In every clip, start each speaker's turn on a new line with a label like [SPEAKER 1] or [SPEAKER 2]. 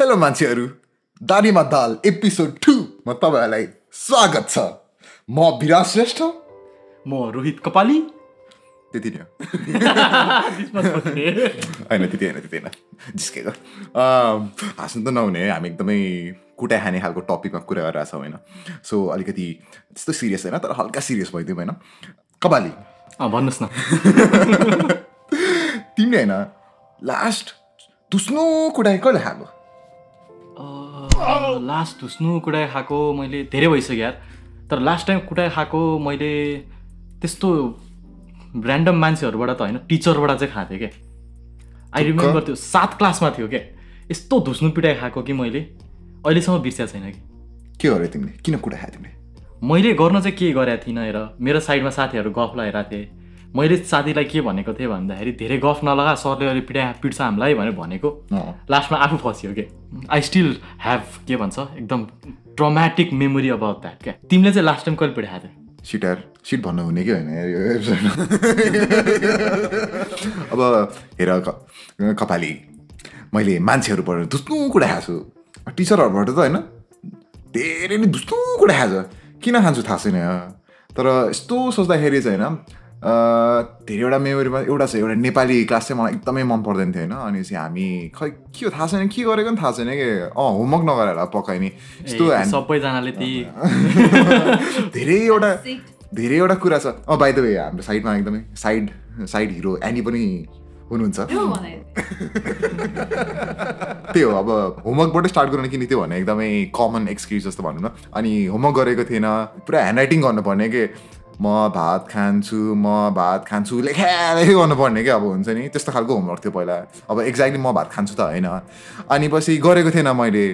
[SPEAKER 1] Hello मान्छेहरू दानीमा दाल एपिसोड टूमा तपाईँहरूलाई स्वागत छ म विराज श्रेष्ठ
[SPEAKER 2] म रोहित कपाली
[SPEAKER 1] त्यति नै हो
[SPEAKER 2] बिचमा छोड्ने।
[SPEAKER 1] होइन त्यति होइन त्यति होइन जिस्केको अम्, हाँस्नु त नहुने हामी एकदमै कुटाइ खाने खालको टपिकमा कुरा गरिरहेको छौँ होइन सो अलिकति त्यस्तो सिरियस होइन तर हल्का सिरियस भइदिउँ होइन कपाली
[SPEAKER 2] अँ, भन्नुहोस् न
[SPEAKER 1] तिमीले होइन लास्ट तुस्नो कुटाइ कहिले खाएको
[SPEAKER 2] अँ, लास्ट धुस्नु कुटाइ खाएको मैले धेरै भइसक्यो यार तर लास्ट टाइम कुटाइ खाएको मैले त्यस्तो ऱ्यान्डम मान्छेहरूबाट त होइन टिचरबाट चाहिँ खाएको थिएँ क्या आई रिमेम्बर त्यो सात क्लासमा थियो क्या यस्तो धुस्नु पिटाइ खाएको कि मैले अहिलेसम्म बिर्सिया छैन कि
[SPEAKER 1] के गर्यो तिमीले किन कुटाइ खायो तिमीले
[SPEAKER 2] मैले गर्न चाहिँ के गरेको थिइनँ हेर मेरो साइडमा साथीहरू गफ लगाइरहेको थिएँ मैले साथीलाई के भनेको थिएँ भन्दाखेरि धेरै गफ नलगा सरले अहिले पिटा पिट्छ हामीलाई भनेर भनेको
[SPEAKER 1] अँ।
[SPEAKER 2] लास्टमा आफू फस्यो के आई स्टिल ह्याभ के भन्छ एकदम ट्रमेटिक मेमोरी अबाउट द्याट क्या तिमीले चाहिँ लास्ट टाइम कहिले पिटाएको थियो
[SPEAKER 1] सिटार सिट भन्नु हुने कि होइन यार यो एपिसोडमा अब हेर क- कपाली मैले मान्छेहरूबाट दुस्तो कुरा खाएको छु टिचरहरूबाट त होइन धेरै नै दुस्तो कुरा खाएको छ किन खान्छु थाहा छैन तर यस्तो सोच्दाखेरि चाहिँ होइन अँ, धेरैवटा मेमोरीमा एउटा छ एउटा नेपाली क्लास चाहिँ मलाई एकदमै मन पर्दैन थियो होइन अनि चाहिँ हामी खै के हो थाहा छैन के गरेको नि थाहा छैन कि अँ होमवर्क नगरेर होला पक्कै नि यस्तो
[SPEAKER 2] ए,
[SPEAKER 1] हामी-
[SPEAKER 2] सबैजनाले ती
[SPEAKER 1] धेरैवटा धेरैवटा कुरा छ अँ बाई द वे हाम्रो साइडमा एकदमै साइड साइड हिरो एनी पनि हुनुहुन्छ
[SPEAKER 3] त्यो भने
[SPEAKER 1] त्यही हो अब होमवर्कबाट स्टार्ट गर्नु किन त्यो भने एकदमै कमन एक्सक्युज जस्तो भनौँ न अनि होमवर्क गरेको थिएन पुरा ह्यान्ड राइटिङ गर्नुपर्ने के म भात खान्छु म भात खान्छु लेखाले गर्नुपर्ने क्या अब हुन्छ नि त्यस्तो खालको होमवर्क थियो पहिला अब एक्ज्याक्टली म भात खान्छु त होइन अनि पछि गरेको थिएन मैले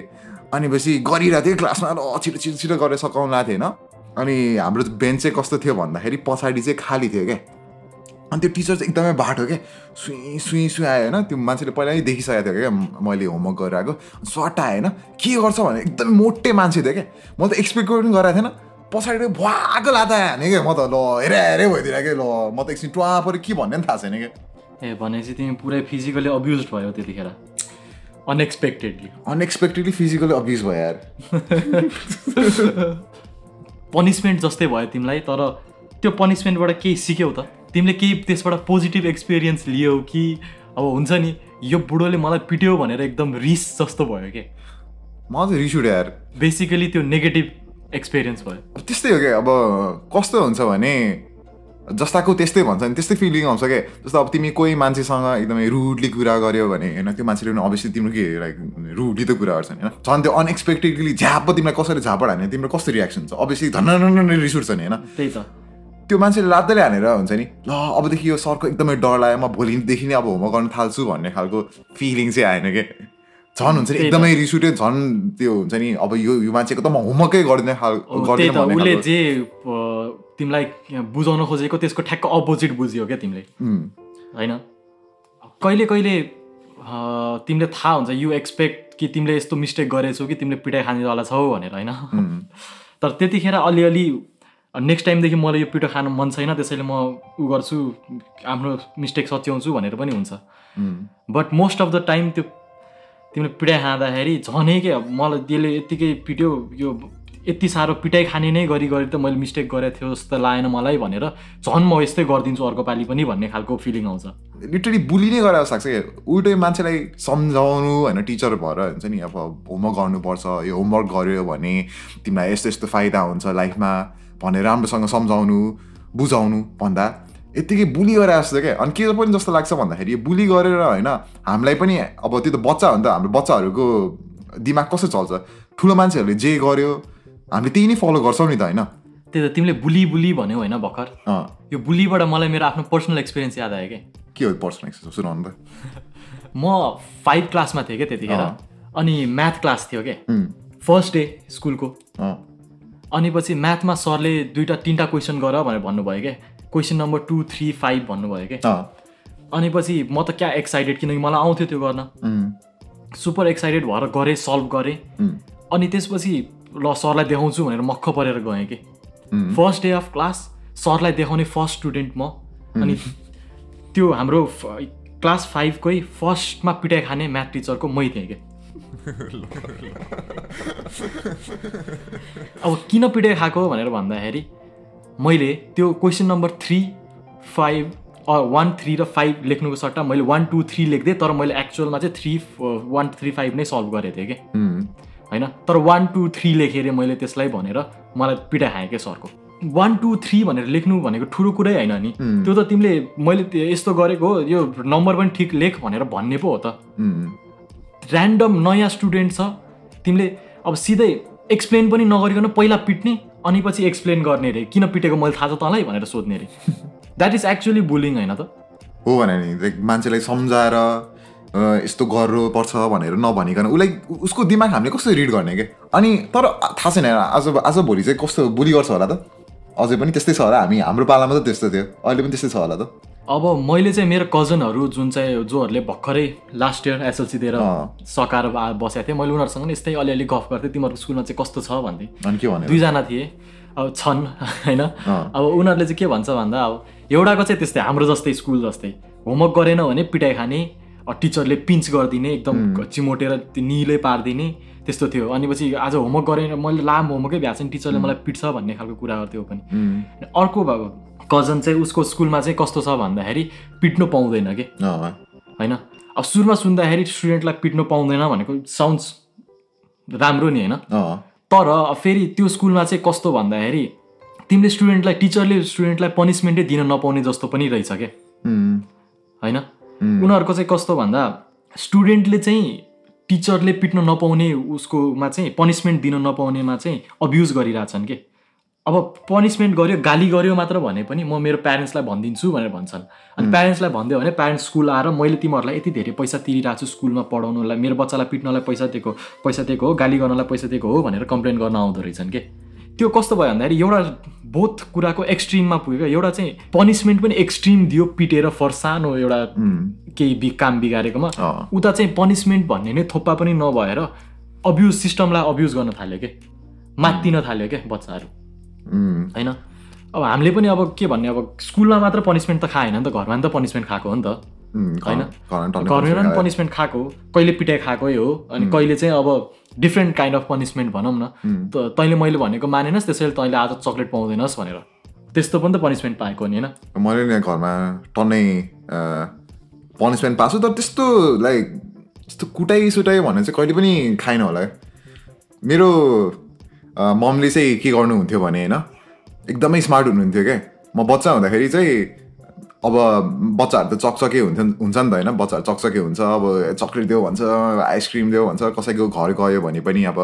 [SPEAKER 1] अनि पछि गरिरहेको थिएँ क्लासमा र छिटो छिटो छिटो गरेर सघाउनु लाएको थिएँ होइन अनि हाम्रो बेन्च चाहिँ कस्तो थियो भन्दाखेरि पछाडि चाहिँ खाली थियो क्या अनि त्यो टिचर चाहिँ एकदमै बाटो के सुई सुई सुई आयो होइन त्यो मान्छेले पहिला नै देखिसकेको थियो क्या म- मैले होमवर्क गरेर आएको सर्ट आयो होइन के गर्छ भने एकदमै मोटे मान्छे थियो क्या म त एक्सपेक्ट पनि गराएको थिएन पछाडि भुवाएको लाता हाने क्या म त ल हेरे हेरे भइदिएर क्या ल म त एकछिन टुवा पऱ्यो के भन्ने पनि थाहा छैन क्या
[SPEAKER 2] ए भनेपछि तिमी पुरै फिजिकली अब्युज भयो त्यतिखेर अनएक्सपेक्टेडली
[SPEAKER 1] अनएक्सपेक्टेडली फिजिकली अब्युज भयो यार
[SPEAKER 2] पनिसमेन्ट जस्तै भयो तिमीलाई तर त्यो पनिसमेन्टबाट केही सिक्यौ त तिमीले केही त्यसबाट पोजिटिभ एक्सपिरियन्स लियौ कि अब हुन्छ नि यो बुढोले मलाई पिट्यो भनेर एकदम रिस जस्तो भयो के
[SPEAKER 1] म चाहिँ रिस उठ्यो यार
[SPEAKER 2] बेसिकली त्यो नेगेटिभ एक्सपिरियन्स भयो
[SPEAKER 1] अब त्यस्तै हो क्या अब कस्तो हुन्छ भने जस्ताको त्यस्तै भन्छ नि त्यस्तै फिलिङ आउँछ क्या जस्तो अब तिमी कोही मान्छेसँग एकदमै रुडली कुरा गर्यो भने होइन त्यो मान्छेले पनि अभियसली तिम्रो के लाइक रुडली त कुरा गर्छन् होइन झन् त्यो अनएक्सपेक्टेडली झ्याप तिमीलाई कसरी झापड हाने तिम्रो कस्तो रियाक्सन छ अभियसली धन्न रिस उठ्छ नि होइन
[SPEAKER 2] त्यही त
[SPEAKER 1] त्यो मान्छेले लात्तैले हानेर हुन्छ नि ल अबदेखि यो सरको एकदमै डर लाग्यो म भोलिदेखि नै अब होमवर्क गर्न थाल्छु भन्ने खालको फिलिङ चाहिँ आएन के झन् हुन्छ नि
[SPEAKER 2] त्यही त।
[SPEAKER 1] एकदमै रिस उठ्यो झन् त्यो हुन्छ नि अब यो यो मान्छेको त म होमवर्कै गर्दैन
[SPEAKER 2] अब
[SPEAKER 1] खालको गर्दिनँ
[SPEAKER 2] त्यही त
[SPEAKER 1] भन्ने
[SPEAKER 2] उसले
[SPEAKER 1] खालको-
[SPEAKER 2] जे अ, तिमीलाई बुझाउन खोजेको त्यसको ठ्याक्क अपोजिट बुझ्यो क्या तिमीले
[SPEAKER 1] उम्।
[SPEAKER 2] होइन कहिले कहिले अ, तिमीले थाहा हुन्छ यु एक्सपेक्ट कि तिमीले यस्तो मिस्टेक गरेछौ कि तिमीले पिटाइ खानेवाला छौ भनेर होइन तर त्यतिखेर अलिअलि नेक्स्ट टाइमदेखि मलाई यो पिटो खानु मन छैन त्यसैले म उ गर्छु आफ्नो मिस्टेक सच्याउँछु भनेर पनि हुन्छ but most of the time त्यो तिमीले पिटाइ खाँदाखेरि झनै के अब मलाई त्यसले यत्तिकै पिट्यो यो यति साह्रो पिटाइ खाने नै गरी गरी त मैले मिस्टेक गरेको थियो जस्तो लागेन मलाई भनेर झन् म यस्तै गरिदिन्छु अर्को पालि पनि भन्ने खालको फिलिङ आउँछ
[SPEAKER 1] लिटरली बुली नै गराएर सक्छ क्या उल्टै मान्छेलाई सम्झाउनु होइन टिचर भएर हुन्छ नि अब होमवर्क गर्नुपर्छ यो होमवर्क गऱ्यो भने तिमीलाई यस्तो यस्तो फाइदा हुन्छ लाइफमा भनेर राम्रोसँग सम्झाउनु बुझाउनु भन्दा यत्तिकै बुली गरेर जस्तो क्या अनि के पनि जस्तो लाग्छ भन्दाखेरि यो बुली गरेर होइन हामीलाई पनि अब त्यो त बच्चा हो नि त हाम्रो बच्चाहरूको दिमाग कस्तो चल्छ ठुलो मान्छेहरूले जे गर्यो हामीले त्यही नै फलो गर्छौँ नि त होइन
[SPEAKER 2] त्यही त तिमीले बुली बुली भन्यौ होइन भर्खर
[SPEAKER 1] अँ,
[SPEAKER 2] यो बुलीबाट मलाई मेरो आफ्नो पर्सनल एक्सपिरियन्स याद आयो कि
[SPEAKER 1] के हो पर्सनल एक्सपिरियन्स सुनाउनु त
[SPEAKER 2] म फाइभ क्लासमा थिएँ क्या त्यतिखेर
[SPEAKER 1] अँ।
[SPEAKER 2] अनि म्याथ क्लास थियो क्या
[SPEAKER 1] उम्,
[SPEAKER 2] फर्स्ट डे स्कुलको
[SPEAKER 1] अँ,
[SPEAKER 2] अनि पछि म्याथमा सरले दुईवटा तिनवटा क्वेसन गर भनेर भन्नुभयो क्या question number two three five भन्नुभयो क्या
[SPEAKER 1] अँ,
[SPEAKER 2] अनि पछि म त क्या एक्साइटेड किनकि मलाई आउँथ्यो त्यो गर्न
[SPEAKER 1] उम्,
[SPEAKER 2] सुपर एक्साइटेड भएर गरेँ सल्भ गरेँ
[SPEAKER 1] उम्,
[SPEAKER 2] अनि त्यसपछि ल सरलाई देखाउँछु भनेर मक्ख परेर गएँ कि फर्स्ट डे अफ क्लास सरलाई देखाउने फर्स्ट स्टुडेन्ट म अनि त्यो हाम्रो फ- क्लास फाइभकै फर्स्टमा पिटाइ खाने म्याथ टिचरको मै थिएँ कि अब किन पिटाइ खाएको भनेर भन्दाखेरि मैले त्यो question number three five one three र फाइभ लेख्नुको सट्टा मैले वान टू थ्री लेख्दिएँ तर मैले एक्चुअलमा चाहिँ थ्री वान थ्री फाइभ नै सल्भ गरेको थिएँ कि होइन तर वान टू थ्री लेखेर मैले त्यसलाई भनेर मलाई पिटाइ खाएँ क्या सरको वान टू थ्री भनेर लेख्नु भनेको ठुलो कुरै होइन नि त्यो त तिमीले मैले त्यो यस्तो गरेको हो यो नम्बर पनि ठिक लेख भनेर भन्ने पो हो त ऱ्यान्डम नयाँ स्टुडेन्ट छ तिमीले अब सिधै एक्सप्लेन पनि नगरिकन पहिला पिट्ने अनि पछि एक्सप्लेन गर्ने अरे किन पिटेको मैले थाहा छ तँलाई भनेर सोध्ने अरे द्याट इज एक्चुली बुलिङ होइन त
[SPEAKER 1] हो भने नि लाइक मान्छेलाई सम्झाएर अ, यस्तो गर्नुपर्छ भनेर नभनिकन उसलाई उ- उसको दिमाग हामीले कसरी रिड गर्ने के अनि तर आ- थाहा छैन आज आज भोलि चाहिँ कस्तो बुली गर्छ होला त अझै पनि त्यस्तै छ होला हामी हाम्रो पालामा त त्यस्तो थियो अहिले पनि त्यस्तै छ होला त
[SPEAKER 2] अब मैले चाहिँ मेरो कजनहरू जुन चाहिँ जोहरूले भर्खरै लास्ट इयर एसएलसी दिएर
[SPEAKER 1] अँ।
[SPEAKER 2] सकाएर बा- बसेको थिएँ मैले उनीहरूसँग नि यस्तै अलिअलि गफ गर्थेँ तिमीहरूको स्कुलमा चाहिँ कस्तो छ भन्थेँ
[SPEAKER 1] अनि के भन्यो
[SPEAKER 2] दुईजना थिए अब छन् होइन अब उनीहरूले चाहिँ के भन्छ भन्दा अब एउटाको चाहिँ त्यस्तै हाम्रो जस्तै स्कुल जस्तै होमवर्क गरेन भने पिटाइ खाने अब टिचरले पिन्च गरिदिने एकदम चिमोटेर त्यो निलै पारिदिने त्यस्तो थियो अनि पछि आज होमवर्क गरेन मैले लामो होमवर्कै भएको छैन टिचरले मलाई पिट्छ भन्ने खालको कुरा गर्थ्यो ऊ पनि
[SPEAKER 1] उम्,
[SPEAKER 2] अर्को अब कजन चाहिँ उसको स्कुलमा चाहिँ कस्तो छ भन्दाखेरि पिट्नु पाउँदैन कि
[SPEAKER 1] अँ,
[SPEAKER 2] होइन अब सुरुमा सुन्दाखेरि स्टुडेन्टलाई पिट्नु पाउँदैन भनेको साउन्ड्स राम्रो नि होइन
[SPEAKER 1] अँ,
[SPEAKER 2] तर अब फेरि त्यो स्कुलमा चाहिँ कस्तो भन्दाखेरि तिमीले स्टुडेन्टलाई टिचरले स्टुडेन्टलाई पनिसमेन्टै दिन नपाउने जस्तो पनि रहेछ क्या
[SPEAKER 1] उम्,
[SPEAKER 2] होइन
[SPEAKER 1] उम्,
[SPEAKER 2] उनीहरूको चाहिँ कस्तो भन्दा स्टुडेन्टले चाहिँ टिचरले पिट्न नपाउने उसकोमा चाहिँ पनिसमेन्ट दिन नपाउनेमा चाहिँ अब्युज गरिरहेछन् के अब पनिसमेन्ट गर्यो गाली गर्यो मात्र भने पनि म मेरो प्यारेन्ट्सलाई भनिदिन्छु भनेर भन्छन् अनि प्यारेन्ट्सलाई भनिदियो भने प्यारेन्ट्स स्कुल आएर मैले तिमीहरूलाई यति धेरै पैसा तिरिरहेको छु स्कुलमा पढाउनुलाई मेरो बच्चालाई पिट्नलाई पैसा दिएको पैसा दिएको हो गाली गर्नलाई पैसा दिएको हो भनेर कम्प्लेन गर्न आउँदो रहेछन् के त्यो कस्तो भयो भन्दाखेरि एउटा बोथ कुराको एक्सट्रिममा पुग्यो एउटा चाहिँ पनिसमेन्ट पनि एक्सट्रिम दियो पिटेर फर सानो एउटा
[SPEAKER 1] उम्,
[SPEAKER 2] केही बि काम बिगारेकोमा
[SPEAKER 1] अँ,
[SPEAKER 2] उता चाहिँ पनिसमेन्ट भन्ने नै थोप्पा पनि नभएर अब्युज सिस्टमलाई अब्युज गर्न थाल्यो के मात्तिन थाल्यो के बच्चाहरू
[SPEAKER 1] उम्,
[SPEAKER 2] होइन अब हामीले पनि अब के भन्ने अब स्कुलमा मात्र पनिसमेन्ट त खाएन नि त घरमा नि त पनिसमेन्ट खाएको हो नि त
[SPEAKER 1] उम्,
[SPEAKER 2] होइन?
[SPEAKER 1] घरमा टल्ने
[SPEAKER 2] घरमा पनि
[SPEAKER 1] पर्छ।
[SPEAKER 2] पनिसमेन्ट खाएको कहिले पिटाइ खाएकै हो अनि कहिले चाहिँ अब डिफ्रेन्ट काइन्ड अफ पनिसमेन्ट भनौँ न त तैँले मैले भनेको मानेनस् त्यसैले तैँले आज चक्लेट पाउँदैनस् भनेर त्यस्तो पनि त पनिसमेन्ट पाएको नि होइन
[SPEAKER 1] मैले नि घरमा टन्नै पनिसमेन्ट पाएको छु तर त्यस्तो लाइक यस्तो कुटाइ सुटाइ भने चाहिँ कहिले पनि खाएन होला है। मेरो अ, मम्मीले चाहिँ के गर्नुहुन्थ्यो भने होइन एकदमै स्मार्ट हुनुहुन्थ्यो क्या म बच्चा हुँदाखेरि चाहिँ अब बच्चाहरू त चकचके हुन्थ्यो हुन्छ नि त होइन बच्चाहरू चकचके हुन्छ अब चक्लेट देऊ भन्छ आइसक्रिम देऊ भन्छ कसैको घर गयो भने पनि अब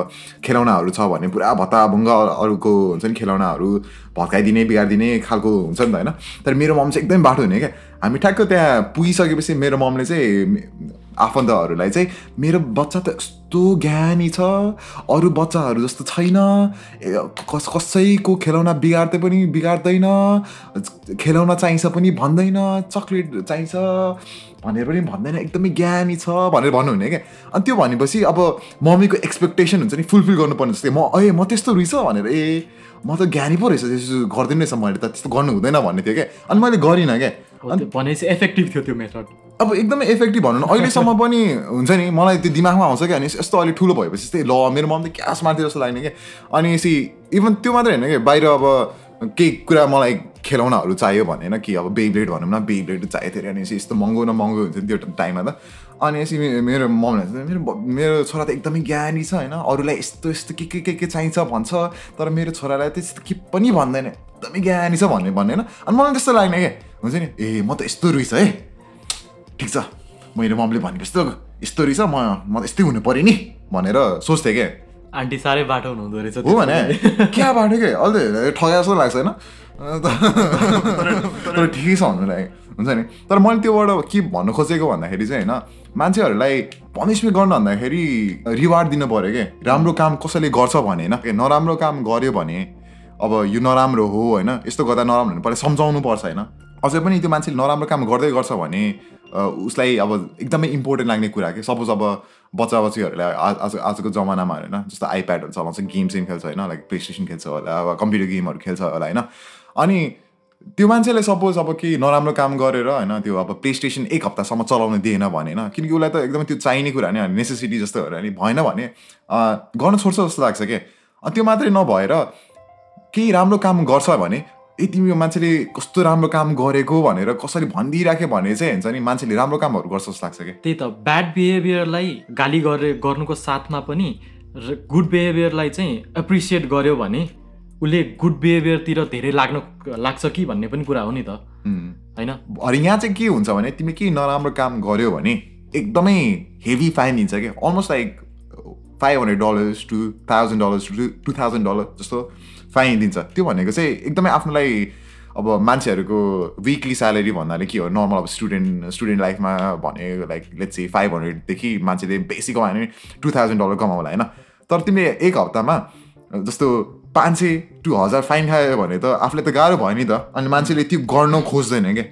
[SPEAKER 1] खेलौनाहरू छ भने पुरा भत्ताभुङ्ग अरूको हुन्छ नि खेलौनाहरू भत्काइदिने बिगारिदिने खालको हुन्छ नि त होइन तर मेरो मम चाहिँ एकदम बाठो हुने क्या हामी ठ्याक्क त्यहाँ पुगिसकेपछि मेरो ममले चाहिँ मे- आफन्तहरूलाई चाहिँ मेरो बच्चा त यस्तो ज्ञानी छ अरू बच्चाहरू जस्तो छैन ए, कस कसैको खेलौना बिगार्दै पनि बिगार्दैन खेलौना चाहिन्छ पनि भन्दैन चक्लेट चाहिन्छ भनेर पनि भन्दैन एकदमै ज्ञानी छ भनेर भन्नुहुने क्या अनि त्यो भनेपछि अब मम्मीको एक्सपेक्टेसन हुन्छ नि फुलफिल गर्नुपर्ने जस्तै म ए म त्यस्तो रहेछ भनेर ए म त ज्ञानी पो रहेछ त्यस्तो गरिदिनु रहेछ मैले त त्यस्तो गर्नु हुँदैन भन्ने थियो क्या अनि मैले गरिनँ क्या
[SPEAKER 2] हो, त्यो भनेपछि इफेक्टिभ थियो त्यो मेथड
[SPEAKER 1] अब एकदमै इफेक्टिभ भनौँ न अहिलेसम्म पनि हुन्छ नि मलाई त्यो दिमागमा आउँछ क्या अनि यस्तो अलिक ठुलो भएपछि चाहिँ ल मेरो मम्मी त क्यास मार्थ्यो जस्तो लाग्ने क्या अनि यसरी इभन त्यो मात्रै होइन कि बाहिर अब केही कुरा मलाई खेलाउनाहरू चाहियो भने होइन कि अब बेब्लेड भनौँ न बेब्लेड चाहिएको थियो अरे अनि यसरी यस्तो महँगो न महँगो हुन्थ्यो नि त्यो टाइममा त अनि यसरी मे- मेरो मम्मीलाई चाहिँ मेरो ब- मेरो छोरा त एकदमै ज्ञानी छ होइन अरूलाई यस्तो यस्तो के के के के चाहिन्छ भन्छ तर मेरो छोरालाई त्यस्तो के पनि भन्दैन एकदमै ज्ञानी छ भन्ने भन्दैन अनि मलाई त्यस्तो लाग्ने क्या हुन्छ नि ए म त यस्तो रहेछ है ठिक छ मेरो मम्मीले भनेको जस्तो यस्तो रहेछ म म त यस्तै हुनु पऱ्यो नि भनेर सोच्थेँ क्या
[SPEAKER 2] आन्टी साह्रै बाटो हुनुहुँदो रहेछ
[SPEAKER 1] हो भने क्या बाटो क्या अलि ठगा जस्तो लाग्छ होइन तर- तर ठिकै छ भन्नु लाग्यो हुन्छ नि तर मैले त्योबाट के भन्नु खोजेको भन्दाखेरि चाहिँ होइन मान्छेहरूलाई पनिसमेन्ट गर्नु भन्दाखेरि रिवार्ड दिनु पऱ्यो क्या राम्रो काम कसैले गर्छ भने होइन के नराम्रो काम गर्यो भने अब यो नराम्रो हो होइन यस्तो गर्दा नराम्रो हुनु पर्यो सम्झाउनु पर्छ होइन अझै पनि त्यो मान्छेले नराम्रो काम गर्दै गर्छ भने अ, उसलाई अब एकदमै इम्पोर्टेन्ट लाग्ने कुरा के सपोज अब बच्चा बच्चीहरूलाई आ- आज आजको जमानामा होइन जस्तो आइप्याडहरू चलाउँछ गेम सेम खेल्छ होइन लाइक प्ले स्टेसन खेल्छ होला अब कम्प्युटर गेमहरू खेल्छ होला होइन अनि त्यो मान्छेले सपोज अब केही नराम्रो काम गरेर होइन त्यो अब प्ले स्टेसन एक हप्तासम्म चलाउन दिएन भने होइन किनकि उसलाई त एकदमै त्यो चाहिने कुरा नि नेसेसिटी जस्तो हो अनि भएन भने अँ, गर्न छोड्छ जस्तो लाग्छ के अनि त्यो मात्रै नभएर केही राम्रो काम गर्छ भने ए तिमी यो मान्छेले कस्तो राम्रो काम गरेको भनेर कसरी भनिदिइराख्यो भने चाहिँ हुन्छ नि मान्छेले राम्रो कामहरू गर्छ जस्तो लाग्छ कि
[SPEAKER 2] त्यही त ब्याड बिहेभियरलाई गाली गरे गर्नुको साथमा पनि र गुड बिहेभियरलाई चाहिँ एप्रिसिएट गर्यो भने उसले गुड बिहेभियरतिर धेरै लाग्न लाग्छ कि भन्ने पनि कुरा हो नि त होइन
[SPEAKER 1] अनि यहाँ चाहिँ के हुन्छ भने तिमी केही नराम्रो काम गर्यो भने एकदमै हेभी फाइन दिन्छ कि almost like five hundred dollars two thousand dollars two two thousand dollar जस्तो फाइन दिन्छ त्यो भनेको चाहिँ एकदमै आफ्नोलाई अब मान्छेहरूको विकली स्यालेरी भन्नाले के हो नर्मल अब स्टुडेन्ट स्टुडेन्ट लाइफमा भने लाइक लेट्स सी फाइभ हन्ड्रेडदेखि मान्छेले बेसी कमायो भने टु थाउजन्ड डलर कमाउला होइन तर तिमीले एक हप्तामा जस्तो पाँच सय टु हजार फाइन खायो भने त आफूलाई त गाह्रो भयो नि त अनि मान्छेले त्यो गर्नु खोज्दैन क्या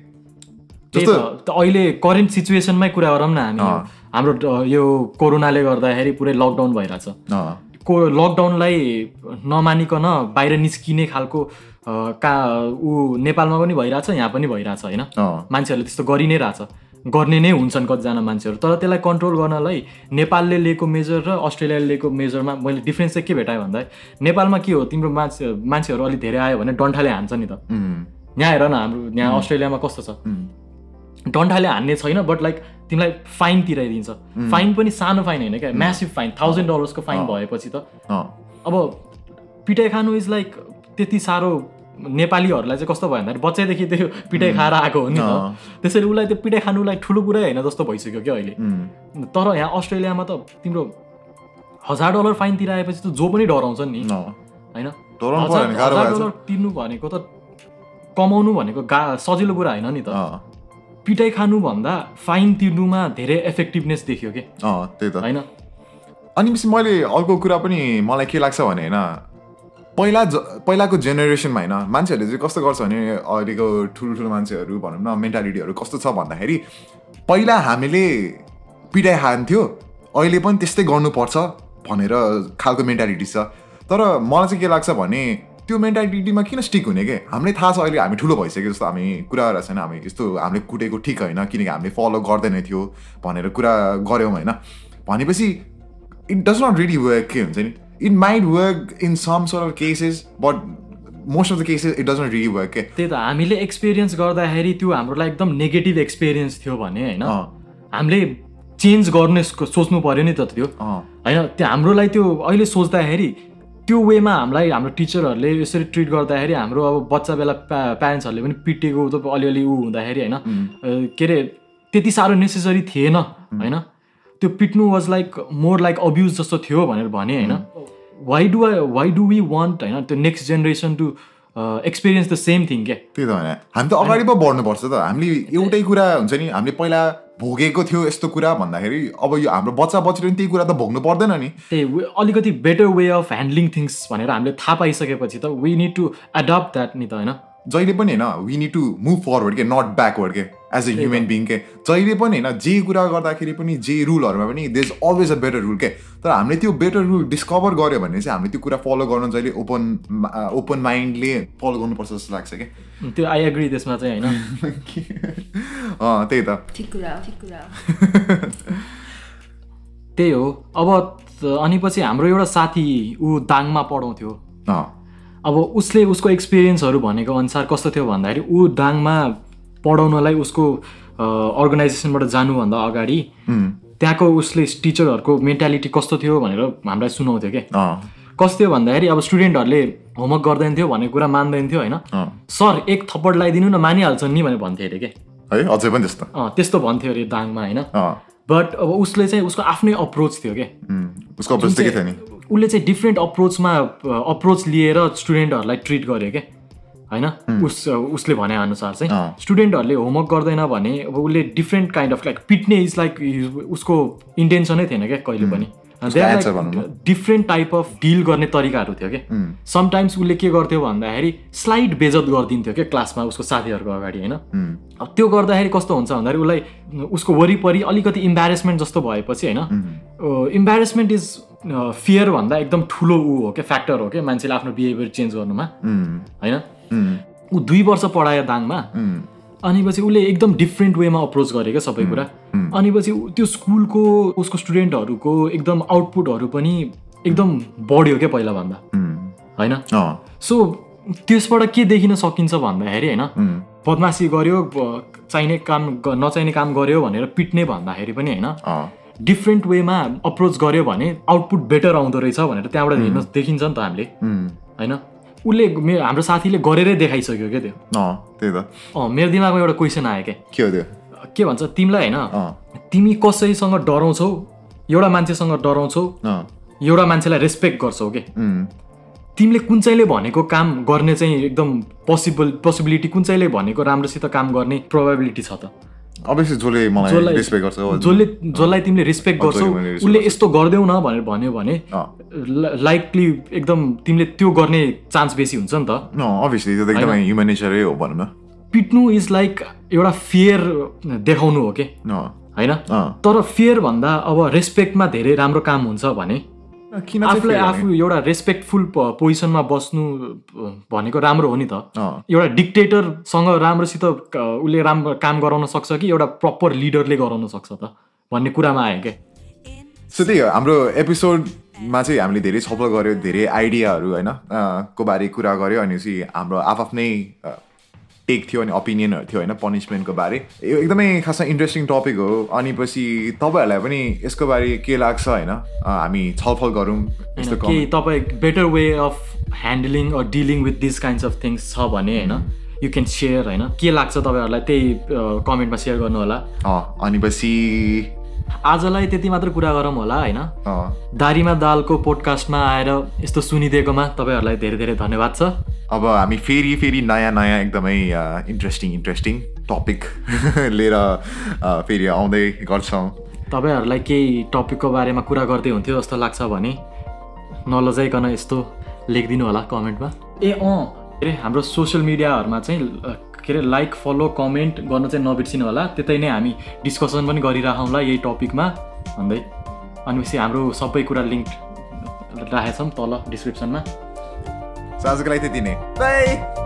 [SPEAKER 2] त्यही
[SPEAKER 1] जस्तो-
[SPEAKER 2] त, त अहिले करेन्ट सिचुएसनमै कुरा गरौँ न हामी
[SPEAKER 1] अँ।
[SPEAKER 2] हाम्रो ड- यो कोरोनाले गर्दाखेरि पुरै लकडाउन भइरहेछ
[SPEAKER 1] अँ,
[SPEAKER 2] को लकडाउनलाई नमानिकन बाहिर निस्किने खालको अ, का ऊ नेपालमा पनि भइरहेछ यहाँ पनि भइरहेछ होइन
[SPEAKER 1] अँ,
[SPEAKER 2] मान्छेहरूले त्यस्तो गरि नै रहेछ गर्ने नै हुन्छन् कतिजना मान्छेहरू तर त्यसलाई कन्ट्रोल गर्नलाई नेपालले लिएको मेजर र अस्ट्रेलियाले लिएको मेजरमा मैले डिफ्रेन्स चाहिँ के भेटाएँ भन्दा नेपालमा के हो तिम्रो मान्छे मान्छेहरू अलिक धेरै आयो भने डन्ठाले हान्छ नि त
[SPEAKER 1] उम्,
[SPEAKER 2] यहाँ हेर न हाम्रो यहाँ अस्ट्रेलियामा कस्तो छ
[SPEAKER 1] उम्,
[SPEAKER 2] डन्ठाले हान्ने छैन बट लाइक तिमीलाई फाइन तिराइदिन्छ फाइन पनि सानो फाइन होइन क्या म्यासिभ फाइन थाउजन्ड डलर्सको फाइन भएपछि त
[SPEAKER 1] अँ,
[SPEAKER 2] अब पिटाइ खानु इज लाइक त्यति साह्रो नेपालीहरूलाई चाहिँ कस्तो भयो भन्दाखेरि बच्चैदेखि त्यो पिटाइ खाएर आएको हो नि त
[SPEAKER 1] अँ।
[SPEAKER 2] त्यसरी उसलाई त्यो पिटाइ खानुलाई ठुलो कुरै होइन जस्तो भइसक्यो क्या अहिले
[SPEAKER 1] उम्,
[SPEAKER 2] तर यहाँ अस्ट्रेलियामा त तिम्रो हजार डलर फाइन तिराएपछि त जो पनि डराउँछ नि
[SPEAKER 1] अँ।
[SPEAKER 2] होइन
[SPEAKER 1] डराउनु
[SPEAKER 2] हजार
[SPEAKER 1] पऱ्यो भने गाह्रो
[SPEAKER 2] हजार
[SPEAKER 1] भएछ
[SPEAKER 2] डलर तिर्नु भनेको त कमाउनु भनेको गा सजिलो कुरा होइन नि त
[SPEAKER 1] अँ,
[SPEAKER 2] पिटाइ खानुभन्दा फाइन तिर्नुमा धेरै इफेक्टिभनेस देखियो कि
[SPEAKER 1] अँ, त्यही त
[SPEAKER 2] होइन
[SPEAKER 1] अनि पछि मैले अर्को कुरा पनि मलाई के लाग्छ भने होइन पहिला ज पहिलाको जेनेरेसनमा होइन मान्छेहरूले चाहिँ कस्तो गर्छ भने अहिलेको ठुल्ठुलो मान्छेहरू भनौँ न मेन्टालिटीहरू कस्तो छ भन्दाखेरि पहिला हामीले पिटाइ हान्थ्यो अहिले पनि त्यस्तै गर्नुपर्छ भनेर खालको मेन्टालिटी छ तर मलाई चाहिँ के लाग्छ भने त्यो मेन्टालिटीमा किन स्टिक हुने के हामीलाई थाहा छ अहिले हामी ठुलो भइसक्यो जस्तो हामी कुरा गरेर छैन हामी यस्तो हामीले कुटेको ठिक होइन किनकि हामीले फलो गर्दैन थियो भनेर कुरा गऱ्यौँ होइन भनेपछि it does not really work के हुन्छ नि it might work in some sort of cases but most of the cases it does not really work के
[SPEAKER 2] त्यही त हामीले एक्सपिरियन्स गर्दाखेरि त्यो हाम्रोलाई एकदम नेगेटिभ एक्सपिरियन्स थियो भने होइन
[SPEAKER 1] अँ,
[SPEAKER 2] हामीले चेन्ज गर्ने स्को- सोच्नु पऱ्यो नि त त्यो
[SPEAKER 1] अँ,
[SPEAKER 2] होइन त्यो हाम्रोलाई त्यो अहिले सोच्दाखेरि त्यो वेमा हामीलाई हाम्रो टिचरहरूले यसरी ट्रिट गर्दाखेरि हाम्रो अब बच्चा बेला प्या प्यारेन्ट्सहरूले पनि पिटेको त अलिअलि ऊ हुँदाखेरि होइन अ, के अरे त्यति साह्रो नेसेसरी थिएन होइन त्यो पिट्नु was like more like abuse जस्तो थियो भनेर भने होइन why do I why do we want होइन त्यो next generation to experience the same thing क्या
[SPEAKER 1] त्यही त भने हामी त अगाडि पो बढ्नुपर्छ त हामीले एउटै कुरा हुन्छ नि हामीले पहिला भोगेको थियो यस्तो कुरा भन्दाखेरि अब यो हाम्रो बच्चा बच्चीले पनि त्यही कुरा त भोग्नु पर्दैन नि
[SPEAKER 2] त्यही वे- अलिकति better way of handling things भनेर हामीले थाहा पाइसकेपछि त we need to adapt that नि त होइन
[SPEAKER 1] जहिले पनि होइन we need to move forward के नट ब्याकवर्ड के एज अ ह्युमन बिङ के जहिले पनि होइन जे कुरा गर्दाखेरि पनि जे रुलहरूमा पनि they is always a better rule के तर हामीले त्यो बेटर रुल डिस्कभर गऱ्यो भने चाहिँ हामीले त्यो कुरा फलो गर्न जहिले ओपन ओपन माइन्डले फलो गर्नुपर्छ जस्तो लाग्छ कि
[SPEAKER 2] त्यो आई एग्री त्यसमा चाहिँ होइन
[SPEAKER 1] अँ त्यही त
[SPEAKER 3] ठिक कुरा हो ठिक कुरा हो
[SPEAKER 2] त्यही हो अब त- अनि पछि हाम्रो एउटा साथी ऊ दाङमा पढाउँथ्यो
[SPEAKER 1] अँ
[SPEAKER 2] अब उसले उसको एक्सपिरियन्सहरू भनेको अनुसार कस्तो थियो भन्दाखेरि ऊ दाङमा पढाउनलाई उसको अर्गनाइजेसनबाट जानुभन्दा अगाडि
[SPEAKER 1] उम्,
[SPEAKER 2] त्यहाँको उसले टिचरहरूको मेन्टालिटी कस्तो थियो भनेर हामीलाई सुनाउँथ्यो क्या
[SPEAKER 1] अँ
[SPEAKER 2] कस्तो थियो भन्दाखेरि अब स्टुडेन्टहरूले होमवर्क गर्दैन थियो भन्ने कुरा मान्दैन थियो होइन
[SPEAKER 1] अँ
[SPEAKER 2] सर एक थप्पड लगाइदिनु न मानिहाल्छन् नि भनेर भन्थ्यो अरे के
[SPEAKER 1] है अझै पनि त्यस्तो
[SPEAKER 2] अँ त्यस्तो भन्थ्यो अरे दाङमा होइन
[SPEAKER 1] अँ
[SPEAKER 2] बट अब उसले चाहिँ उसको आफ्नै अप्रोच थियो के
[SPEAKER 1] उम्, उसको अप्रोच चाहिँ के थियो नि
[SPEAKER 2] उसले चाहिँ डिफ्रेन्ट अप्रोचमा अप्रोच लिएर स्टुडेन्टहरूलाई ट्रिट गर्यो के होइन उस उसले भने अनुसार चाहिँ
[SPEAKER 1] अँ।
[SPEAKER 2] स्टुडेन्टहरूले होमवर्क गर्दैन भने अब उसले डिफ्रेन्ट काइन्ड अफ लाइक पिट्ने इज लाइक उसको इन्टेन्सनै थिएन क्या कहिले पनि
[SPEAKER 1] answer भनौँ न।
[SPEAKER 2] डिफ्रेन्ट टाइप अफ डिल गर्ने तरिकाहरू थियो क्या
[SPEAKER 1] उम्,
[SPEAKER 2] समटाइम्स उसले के गर्थ्यो भन्दाखेरि स्लाइड बेजत गरिदिन्थ्यो क्या क्लासमा उसको साथीहरूको अगाडि होइन
[SPEAKER 1] उम्,
[SPEAKER 2] अब त्यो गर्दाखेरि कस्तो हुन्छ भन्दाखेरि उसलाई उसको वरिपरि अलिकति इम्ब्यारेसमेन्ट जस्तो भएपछि होइन
[SPEAKER 1] उम्,
[SPEAKER 2] इम्ब्यारेसमेन्ट इज फियर भन्दा एकदम ठुलो ऊ हो क्या फ्याक्टर हो क्या मान्छेले आफ्नो बिहेभियर चेन्ज गर्नुमा
[SPEAKER 1] उम्,
[SPEAKER 2] होइन
[SPEAKER 1] उम्,
[SPEAKER 2] ऊ दुई वर्ष पढायो दाङमा अनि पछि उसले एकदम डिफ्रेन्ट वेमा अप्रोच गरेको सबै कुरा अनि पछि ऊ- त्यो स्कुलको उसको स्टुडेन्टहरूको एकदम आउटपुटहरू पनि एकदम बढ्यो क्या पहिलाभन्दा होइन
[SPEAKER 1] अँ
[SPEAKER 2] सो त्यसबाट के देखिन सकिन्छ भन्दाखेरि होइन
[SPEAKER 1] उम्,
[SPEAKER 2] बदमासी गर्यो ब- चाहिने काम ग- नचाहिने काम गर्यो भनेर पिट्ने भन्दाखेरि पनि होइन
[SPEAKER 1] अँ
[SPEAKER 2] डिफ्रेन्ट वेमा अप्रोच गर्यो भने आउटपुट बेटर आउँदो रहेछ भनेर त्यहाँबाट हेर्न देखिन्छ नि त हामीले
[SPEAKER 1] उम्,
[SPEAKER 2] होइन उसले मे- हाम्रो साथीले गरेरै देखाइसक्यो क्या त्यो
[SPEAKER 1] अँ त्यही त
[SPEAKER 2] अँ मेरो दिमागमा एउटा क्वेसन आयो क्या
[SPEAKER 1] के हो त्यो
[SPEAKER 2] के भन्छ तिमीलाई होइन
[SPEAKER 1] अँ
[SPEAKER 2] तिमी कसैसँग डराउँछौ एउटा मान्छेसँग डराउँछौ
[SPEAKER 1] अँ
[SPEAKER 2] एउटा मान्छेलाई रेस्पेक्ट गर्छौ के
[SPEAKER 1] उम्,
[SPEAKER 2] तिमीले कुन चाहिँले भनेको काम गर्ने चाहिँ एकदम पोसिबल पोसिबिलिटी कुन चाहिँले भनेको राम्रोसित काम गर्ने प्रोभाबिलिटी छ त
[SPEAKER 1] अभियसली जसले मलाई
[SPEAKER 2] जसलाई-
[SPEAKER 1] रेस्पेक्ट गर्छ हो,
[SPEAKER 2] जसले जसलाई तिमीले रेस्पेक्ट
[SPEAKER 1] अँ,
[SPEAKER 2] गर्छौ
[SPEAKER 1] जसले मैले respect
[SPEAKER 2] उसले यस्तो गरिदेऊ न भनेर भन्यो भने
[SPEAKER 1] अँ
[SPEAKER 2] लाइकली एकदम तिमीले त्यो गर्ने चान्स बेसी हुन्छ नि त
[SPEAKER 1] अभियसली त्यो त एकदमै ह्युमन नेचरै हो भनौँ न
[SPEAKER 2] पिट्नु इज लाइक एउटा फियर देखाउनु हो के
[SPEAKER 1] अँ
[SPEAKER 2] होइन
[SPEAKER 1] अँ
[SPEAKER 2] तर फेयर भन्दा अब रेस्पेक्टमा धेरै राम्रो काम हुन्छ भने
[SPEAKER 1] किन चाहिँ
[SPEAKER 2] आफूलाई
[SPEAKER 1] फेरि
[SPEAKER 2] आफू एउटा रेस्पेक्टफुल पोजिसनमा बस्नु अ, भनेको राम्रो हो नि त
[SPEAKER 1] अँ
[SPEAKER 2] एउटा डिक्टेटरसँग राम्रोसित अ, उसले राम्रो काम गराउन सक्छ कि एउटा प्रपर लिडरले गराउन सक्छ त भन्ने कुरामा आयो क्या
[SPEAKER 1] सो त्यही हो हाम्रो एपिसोडमा चाहिँ हामीले धेरै छलफल गऱ्यो धेरै आइडियाहरू होइन अ, को बारे कुरा गऱ्यो अनि चाहिँ हाम्रो आफआफ्नै टेक थियो अनि ओपिनियनहरू थियो होइन पनिसमेन्टको बारे यो एकदमै खासमा इन्ट्रेस्टिङ टपिक हो अनि पछि तपाईँहरूलाई पनि यसको बारे के लाग्छ होइन अ, हामी छलफल गरौँ यस्तो
[SPEAKER 2] होइन,
[SPEAKER 1] कम-
[SPEAKER 2] केही तपाईँ better way of handling or dealing with this kinds of things छ भने होइन यु क्यान सेयर होइन के लाग्छ तपाईँहरूलाई त्यही कमेन्टमा सेयर गर्नु होला
[SPEAKER 1] अ, अनि पछि
[SPEAKER 2] आजलाई त्यति मात्र कुरा गरौँ होला होइन
[SPEAKER 1] अ,
[SPEAKER 2] दारीमा दालको पोडकास्टमा आएर यस्तो सुनिदिएकोमा तपाईँहरूलाई धेरै धेरै धन्यवाद छ
[SPEAKER 1] अब हामी फेरि फेरि नयाँ नयाँ एकदमै अ, इन्ट्रेस्टिङ इन्ट्रेस्टिङ टपिक लिएर अ, फेरि आउँदै गर्छौँ
[SPEAKER 2] तपाईँहरूलाई केही टपिकको बारेमा कुरा गर्दै हुन्थ्यो जस्तो लाग्छ भने नलजाइकन यस्तो लेखिदिनु होला कमेन्टमा ए अँ के अरे हाम्रो सोसियल मिडियाहरूमा चाहिँ अ, के अरे लाइक फलो कमेन्ट गर्न चाहिँ नबिर्सिनु होला त्यतै नै हामी डिस्कसन पनि गरिराखौँला यही टपिकमा भन्दै अनि पछि हाम्रो सबै कुरा लिङ्क राखेछौँ तल डिस्क्रिप्सनमा
[SPEAKER 1] सो आजको लागि त्यति नै बाई